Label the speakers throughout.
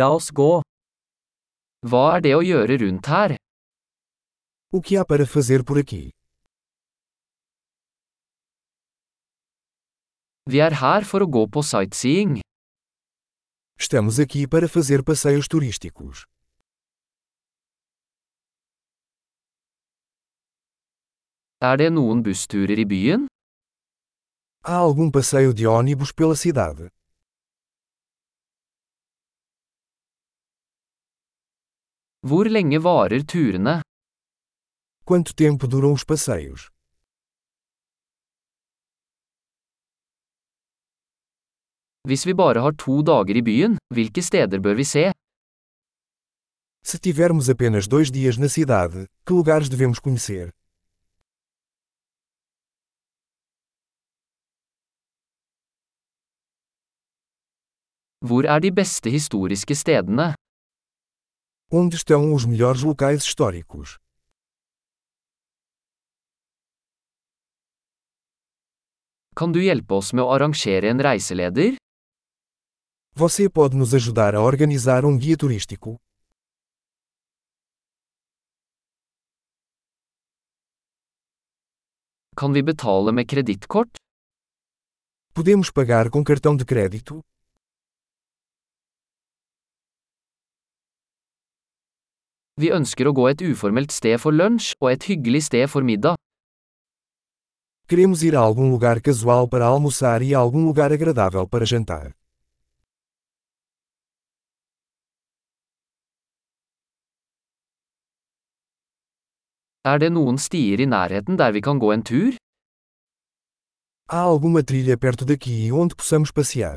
Speaker 1: La oss gå. Hva er det å gjøre rundt her?
Speaker 2: O que há para fazer por aqui?
Speaker 1: Vi er her for å gå på sightseeing.
Speaker 2: Estamos aqui para fazer passeios turísticos.
Speaker 1: Er det noen bussturer i byen?
Speaker 2: Há algum passeio de ônibus pela cidade?
Speaker 1: Hvor lenge varer turene?
Speaker 2: Quanto tempo duram os passeios?
Speaker 1: Hvis vi bare har to dager i byen, hvilke steder bør vi se?
Speaker 2: Se tivermos apenas dois dias na cidade, que lugares devemos conhecer?
Speaker 1: Hvor er de beste historiske stedene?
Speaker 2: Onde estão os melhores locais históricos?
Speaker 1: Kan du hjelpe oss med å arrangere en reiseleder?
Speaker 2: Você pode nos ajudar a organizar um guia turístico?
Speaker 1: Kan vi betale med kredittkort?
Speaker 2: Podemos pagar com cartão de crédito?
Speaker 1: Vi ønsker å gå et uformelt sted for lunsj og et hyggelig sted for middag.
Speaker 2: Queremos ir a algum lugar casual para almoçar e a algum lugar agradável para jantar.
Speaker 1: Er det noen stier i nærheten der vi kan gå en tur?
Speaker 2: Há alguma trilha perto daqui onde possamos passear?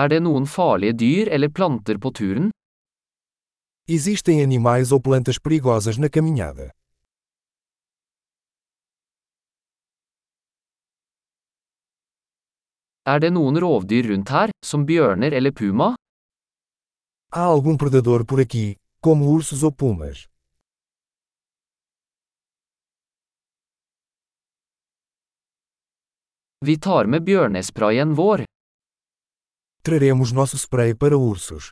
Speaker 1: Er det noen farlige dyr eller planter på turen?
Speaker 2: Existem animais ou plantas perigosas na caminhada?
Speaker 1: Er det noen rovdyr rundt her, som bjørner eller puma?
Speaker 2: Há algum predador por aqui, como ursos ou pumas?
Speaker 1: Vi tar med bjørnesprayen vår.
Speaker 2: Traremos nosso spray para ursos.